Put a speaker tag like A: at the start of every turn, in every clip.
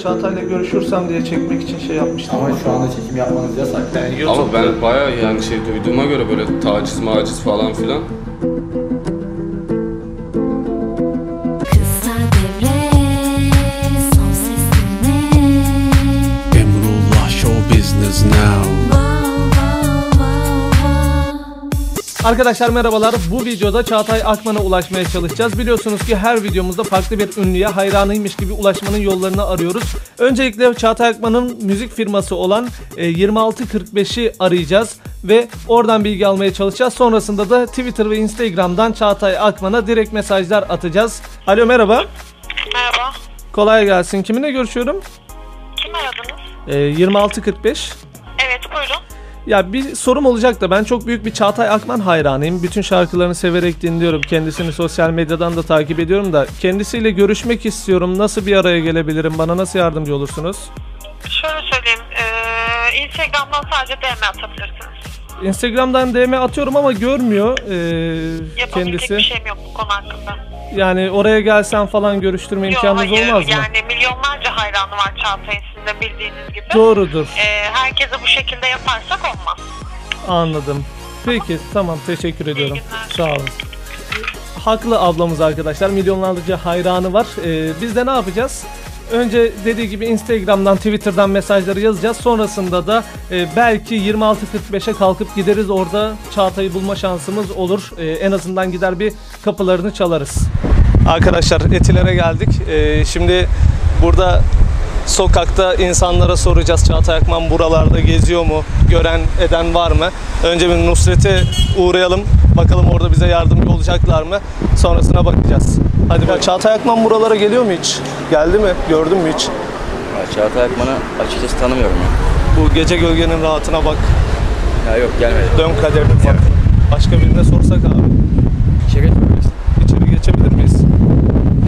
A: Çağatay'la görüşürsem diye çekmek için şey yapmıştım.
B: Ama şu anda çekim yapmanız yasak.
A: Yani
C: Ama
A: YouTube'da
C: ben bayağı yani şey duyduğuma göre böyle taciz maciz falan filan.
D: Kısa devre son sesine
E: Emrullah Show Business Now.
D: Wow wow wow wow
F: Arkadaşlar merhabalar. Bu videoda Çağatay Akman'a ulaşmaya çalışacağız. Biliyorsunuz ki her videomuzda farklı bir ünlüye hayranıymış gibi ulaşmanın yollarını arıyoruz. Öncelikle Çağatay Akman'ın müzik firması olan e, 2645'i arayacağız ve oradan bilgi almaya çalışacağız. Sonrasında da Twitter ve Instagram'dan Çağatay Akman'a direkt mesajlar atacağız. Alo merhaba.
G: Merhaba.
F: Kolay gelsin. Kiminle görüşüyorum?
G: Kim aradınız?
F: E, 2645.
G: Evet buyurun.
F: Ya bir sorum olacak da ben çok büyük bir Çağatay Akman hayranıyım. Bütün şarkılarını severek dinliyorum. Kendisini sosyal medyadan da takip ediyorum da. Kendisiyle görüşmek istiyorum. Nasıl bir araya gelebilirim? Bana nasıl yardımcı olursunuz?
G: Şöyle söyleyeyim. eee, Instagram'dan sadece DM atabilirsiniz.
F: Instagram'dan DM atıyorum ama görmüyor ee,
G: Yapabilecek
F: kendisi.
G: bir şey şeyim yok bu konu hakkında.
F: Yani oraya gelsen falan görüştürme imkanınız
G: hayır.
F: olmaz mı?
G: Yani milyonlarca hayranı var Çağatay'ın sizin de bildiğiniz gibi.
F: Doğrudur.
G: Eee, herkese bu şekilde yaparsak olmaz.
F: Anladım. Peki tamam teşekkür ediyorum.
G: günler.
F: Sağ olun. Haklı ablamız arkadaşlar milyonlarca hayranı var. Ee, biz de ne yapacağız? Önce dediği gibi Instagram'dan, Twitter'dan mesajları yazacağız. Sonrasında da e, belki 26.45'e kalkıp gideriz. Orada Çağatay'ı bulma şansımız olur. E, en azından gider bir kapılarını çalarız. Arkadaşlar Etiler'e geldik. Ee, şimdi burada sokakta insanlara soracağız Çağatay Akman buralarda geziyor mu? Gören eden var mı? Önce bir Nusret'e uğrayalım. Bakalım orada bize yardımcı olacaklar mı? Sonrasına bakacağız. Hadi bak Çağatay Akman buralara geliyor mu hiç? Geldi mi? Gördün mü hiç?
H: Ya Çağatay Akman'ı açıkçası tanımıyorum ya.
F: Bu gece gölgenin rahatına bak.
H: Ya yok gelmedi.
F: Dön kaderine bak. Başka birine sorsak abi.
H: Şaka yapabilirsin.
F: İçeri geçebilir miyiz?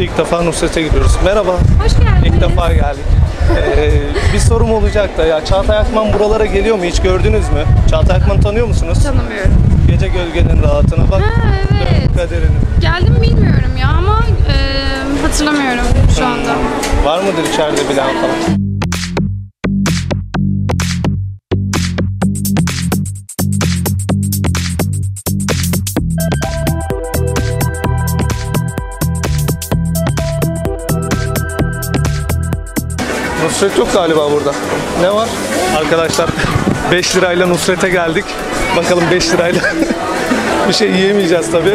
F: İlk defa Nusret'e gidiyoruz. Merhaba. Hoş geldiniz. İlk defa geldik. Ee, bir sorum olacak da ya Çağatay Akman buralara geliyor mu hiç gördünüz mü? Çağatay Akman'ı tanıyor musunuz?
I: Tanımıyorum.
F: Gece gölgenin rahatına bak.
I: Ha evet.
F: Kaderini.
I: Geldim bilmiyorum ya ama e, hatırlamıyorum şu anda.
F: Var mıdır içeride bilen falan? Nusret yok galiba burada. Ne var? Arkadaşlar 5 lirayla Nusret'e geldik. Bakalım 5 lirayla bir şey yiyemeyeceğiz tabii.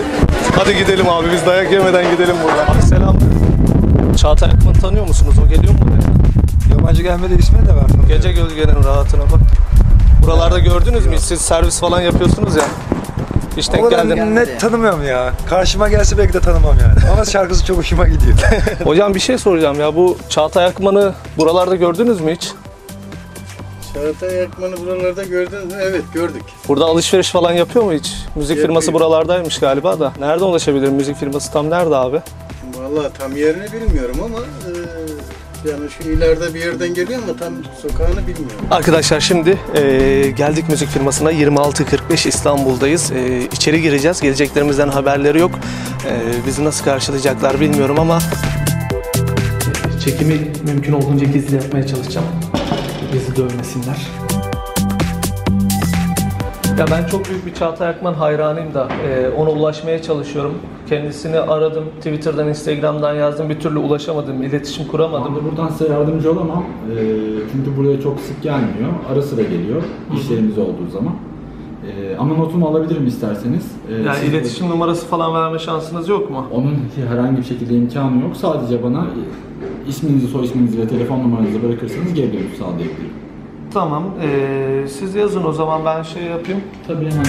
F: Hadi gidelim abi biz dayak yemeden gidelim buradan. Abi selam. Çağatay Akman'ı tanıyor musunuz? O geliyor mu buraya?
B: Yabancı gelmedi ismi de var.
F: Gece gölgenin rahatına bak. Buralarda gördünüz mü? hiç? Siz servis falan yapıyorsunuz ya. Hiç denk
B: Ama ben
F: geldin.
B: net tanımıyorum ya. Karşıma gelse belki de tanımam yani. Ama şarkısı çok hoşuma gidiyor.
F: Hocam bir şey soracağım ya. Bu Çağatay Akman'ı buralarda gördünüz mü hiç?
J: Çağatay Akman'ı buralarda gördünüz mü? Evet gördük.
F: Burada alışveriş falan yapıyor mu hiç? Müzik
J: Yapıyor.
F: firması buralardaymış galiba da. Nerede ulaşabilirim? Müzik firması tam nerede abi?
J: Vallahi tam yerini bilmiyorum ama eee, yani şu ileride bir yerden geliyor ama tam sokağını bilmiyorum.
F: Arkadaşlar şimdi eee, geldik müzik firmasına 26.45 İstanbul'dayız. Eee içeri gireceğiz. Geleceklerimizden haberleri yok. Eee, bizi nasıl karşılayacaklar bilmiyorum ama çekimi mümkün olduğunca gizli yapmaya çalışacağım. Bizi dövmesinler. Ya ben çok büyük bir Çağatay Akman hayranıyım da eee, ona ulaşmaya çalışıyorum. Kendisini aradım, Twitter'dan, Instagram'dan yazdım. Bir türlü ulaşamadım, iletişim kuramadım.
K: Anda buradan size yardımcı olamam. Ee, çünkü buraya çok sık gelmiyor. Ara sıra geliyor işlerimiz olduğu zaman. Ee, ama notumu alabilirim isterseniz. Ee,
F: Yani
K: siz-
F: iletişim numarası falan verme şansınız yok mu?
K: Onun herhangi bir şekilde imkanı yok. Sadece bana e, isminizi, soy isminizi ve telefon numaranızı bırakırsanız geri dönüş sağlayabilirim.
F: Tamam. eee, siz yazın o zaman ben şey yapayım.
K: Tabii hemen.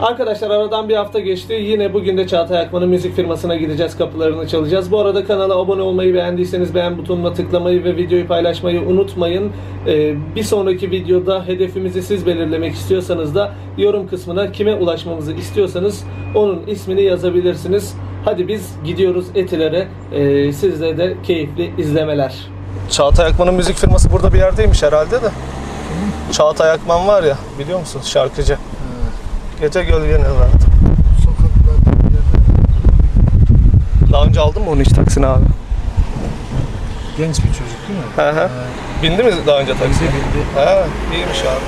F: Arkadaşlar aradan bir hafta geçti. Yine bugün de Çağatay Akman'ın müzik firmasına gideceğiz. Kapılarını çalacağız. Bu arada kanala abone olmayı beğendiyseniz beğen butonuna tıklamayı ve videoyu paylaşmayı unutmayın. Ee, bir sonraki videoda hedefimizi siz belirlemek istiyorsanız da yorum kısmına kime ulaşmamızı istiyorsanız onun ismini yazabilirsiniz. Hadi biz gidiyoruz etilere. Ee, sizde de keyifli izlemeler. Çağatay Akman'ın müzik firması burada bir yerdeymiş herhalde de. Çağatay Akman var ya biliyor musun şarkıcı. Gece gölgenin rahat.
J: Sokaklarda bir yerde.
F: Daha önce aldın mı onu hiç taksini abi?
L: Genç bir çocuk değil mi? Ee,
F: Hı hı. Bindi mi daha önce taksiye? Bindi. Ha, iyiymiş abi.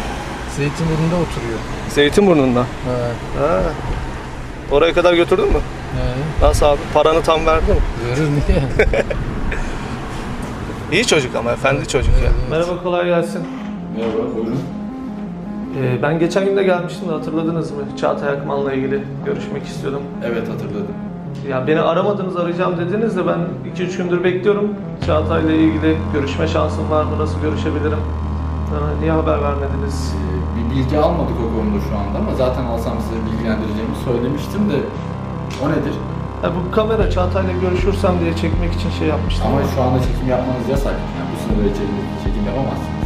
L: Zeytinburnu'nda oturuyor.
F: Zeytinburnu'nda. Ha. Oraya kadar götürdün mü? Nasıl abi? Paranı tam verdi mi?
L: Verir niye?
F: İyi çocuk ama efendi çocuk ya. Merhaba kolay gelsin.
K: Merhaba buyurun.
F: Ee, ben geçen gün de gelmiştim de hatırladınız mı? Çağatay Akman'la ilgili görüşmek istiyordum.
K: Evet hatırladım.
F: Ya beni aramadınız arayacağım dediniz de ben 2-3 gündür bekliyorum. Çağatay'la ilgili görüşme şansım var mı? Nasıl görüşebilirim? Bana niye haber vermediniz?
K: Bir bilgi almadık o konuda şu anda ama zaten alsam size bilgilendireceğimi söylemiştim de o nedir?
F: Ya bu kamera Çağatay'la görüşürsem diye çekmek için şey yapmıştım.
K: Ama şu anda çekim yapmanız yasak. Yani bu sınırda çekim, çekim yapamazsınız.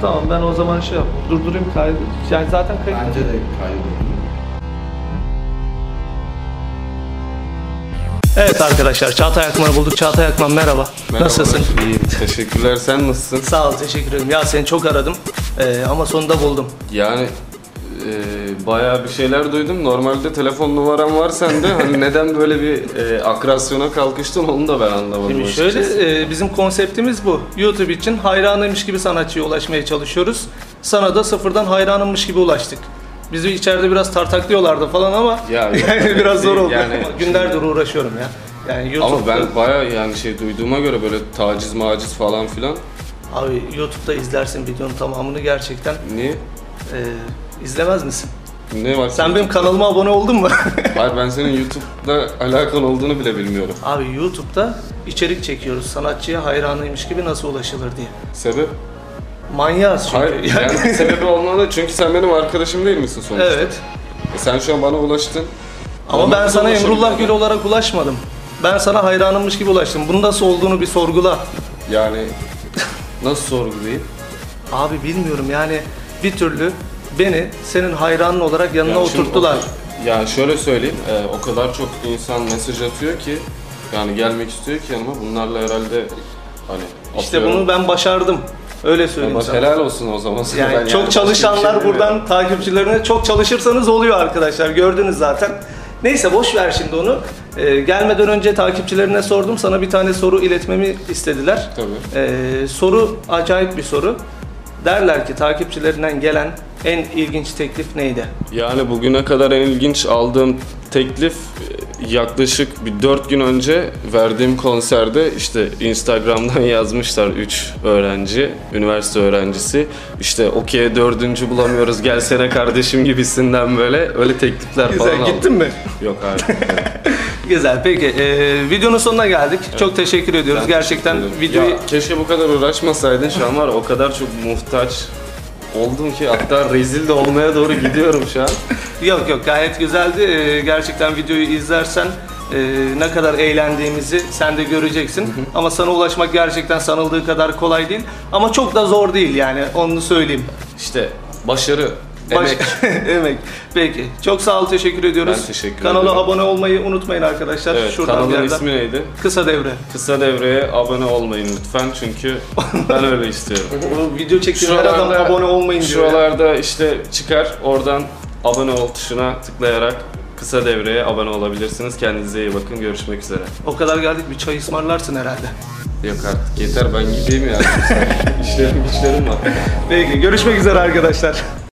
F: Tamam ben o zaman şey yap, durdurayım kaydı. Yani zaten kayıt.
K: Bence de kaydedin.
F: Evet arkadaşlar Çağatay Akman'ı bulduk. Çağatay Akman merhaba.
C: Merhabalar,
F: Nasılsın?
C: İyiyim. Teşekkürler. Sen nasılsın?
F: Sağ ol teşekkür ederim. Ya seni çok aradım Ee, ama sonunda buldum.
C: Yani e, bayağı bir şeyler duydum. Normalde telefon numaram var sende. Hani neden böyle bir e, akrasyona kalkıştın onu da ben anlamadım.
F: Şimdi
C: açıkçası.
F: şöyle e, bizim konseptimiz bu. YouTube için hayranıymış gibi sanatçıya ulaşmaya çalışıyoruz. Sana da sıfırdan hayranıymış gibi ulaştık. Bizi içeride biraz tartaklıyorlardı falan ama
C: Ya yok,
F: yani biraz zor
C: değil.
F: oldu.
C: Yani
F: Ama günlerdir uğraşıyorum ya. Yani
C: Ama
F: YouTube'da,
C: ben bayağı yani şey duyduğuma göre böyle taciz maciz falan filan.
F: abi YouTube'da izlersin videonun tamamını gerçekten. e,
C: Niye?
F: izlemez misin?
C: Ne var?
F: Sen benim kanalıma abone oldun mu?
C: Hayır ben senin YouTube'da alakan olduğunu bile bilmiyorum.
F: Abi YouTube'da içerik çekiyoruz. Sanatçıya hayranıymış gibi nasıl ulaşılır diye.
C: Sebep?
F: Manyağız çünkü.
C: Hayır yani sebebi olmalı çünkü sen benim arkadaşım değil misin sonuçta?
F: Evet.
C: E sen şu an bana ulaştın.
F: Ama
C: Bana
F: ben
C: nasıl
F: sana
C: ulaşabilirim?
F: Emrullah Gül olarak ulaşmadım. Ben sana hayranımmış gibi ulaştım. Bunun nasıl olduğunu bir sorgula.
C: Yani nasıl sorgulayayım?
F: Abi bilmiyorum yani bir türlü beni senin hayranın olarak yanına
C: Yani şimdi
F: oturttular.
C: o- Ya şöyle söyleyeyim, e, o kadar çok insan mesaj atıyor ki yani gelmek istiyor ki yanıma bunlarla herhalde hani
F: İşte
C: atıyorum.
F: bunu ben başardım. Öyle söyleyeyim
C: Ama
F: sana.
C: helal olsun o zaman sana.
F: Yani
C: Ben
F: çok
C: hani yani başka bir
F: çalışanlar
C: şey
F: buradan takipçilerine çok çalışırsanız oluyor arkadaşlar. Gördünüz zaten. Neyse boş ver şimdi onu. Ee, gelmeden önce takipçilerine sordum. Sana bir tane soru iletmemi istediler.
C: Tabii.
F: Ee, soru acayip bir soru. Derler ki takipçilerinden gelen en ilginç teklif neydi?
C: Yani bugüne kadar en ilginç aldığım teklif e, yaklaşık bir 4 gün önce verdiğim konserde işte Instagram'dan yazmışlar 3 öğrenci, üniversite öğrencisi. İşte okey dördüncü bulamıyoruz gelsene kardeşim gibisinden böyle öyle teklifler
F: Güzel,
C: falan aldım.
F: gittin mi?
C: Yok hayır.
F: Güzel peki. Ee, videonun sonuna geldik. Çok teşekkür ediyoruz.
C: Ben
F: Gerçekten
C: teşekkür ederim.
F: videoyu
C: Ya, keşke bu kadar uğraşmasaydın şu an var ya, o kadar çok muhtaç oldum ki hatta rezil de olmaya doğru gidiyorum şu an.
F: Yok yok gayet güzeldi. Ee, gerçekten videoyu izlersen e, ne kadar eğlendiğimizi sen de göreceksin. Ama sana ulaşmak gerçekten sanıldığı kadar kolay değil. Ama çok da zor değil yani onu söyleyeyim.
C: İşte başarı, emek.
F: Emek. Peki. Çok sağ ol, teşekkür ediyoruz.
C: Ben teşekkür
F: Kanala
C: ederim.
F: abone olmayı unutmayın arkadaşlar.
C: Evet,
F: Şuradan bir
C: kanalın
F: yerden.
C: ismi neydi?
F: Kısa Devre.
C: Kısa Devre'ye abone olmayın lütfen çünkü ben öyle istiyorum.
F: Bu video çektiğim her adam abone olmayın diyor. ya.
C: Şuralarda işte çıkar oradan abone ol tuşuna tıklayarak Kısa Devre'ye abone olabilirsiniz. Kendinize iyi bakın. Görüşmek üzere.
F: O kadar geldik bir çay ısmarlarsın herhalde.
C: Yok artık yeter ben gideyim yani. işlerim işlerim var.
F: Peki görüşmek üzere arkadaşlar.